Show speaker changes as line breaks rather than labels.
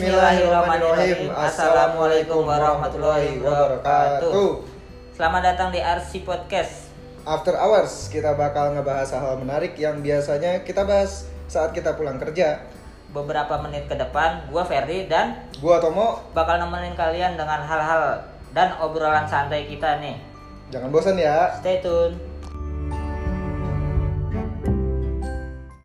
Bismillahirrahmanirrahim. Assalamualaikum warahmatullahi wabarakatuh.
Selamat datang di RC Podcast.
After hours kita bakal ngebahas hal menarik yang biasanya kita bahas saat kita pulang kerja.
Beberapa menit ke depan, gua Ferdi dan
Gua Tomo,
bakal nemenin kalian dengan hal-hal dan obrolan santai kita nih.
jangan bosan ya.
Stay tune.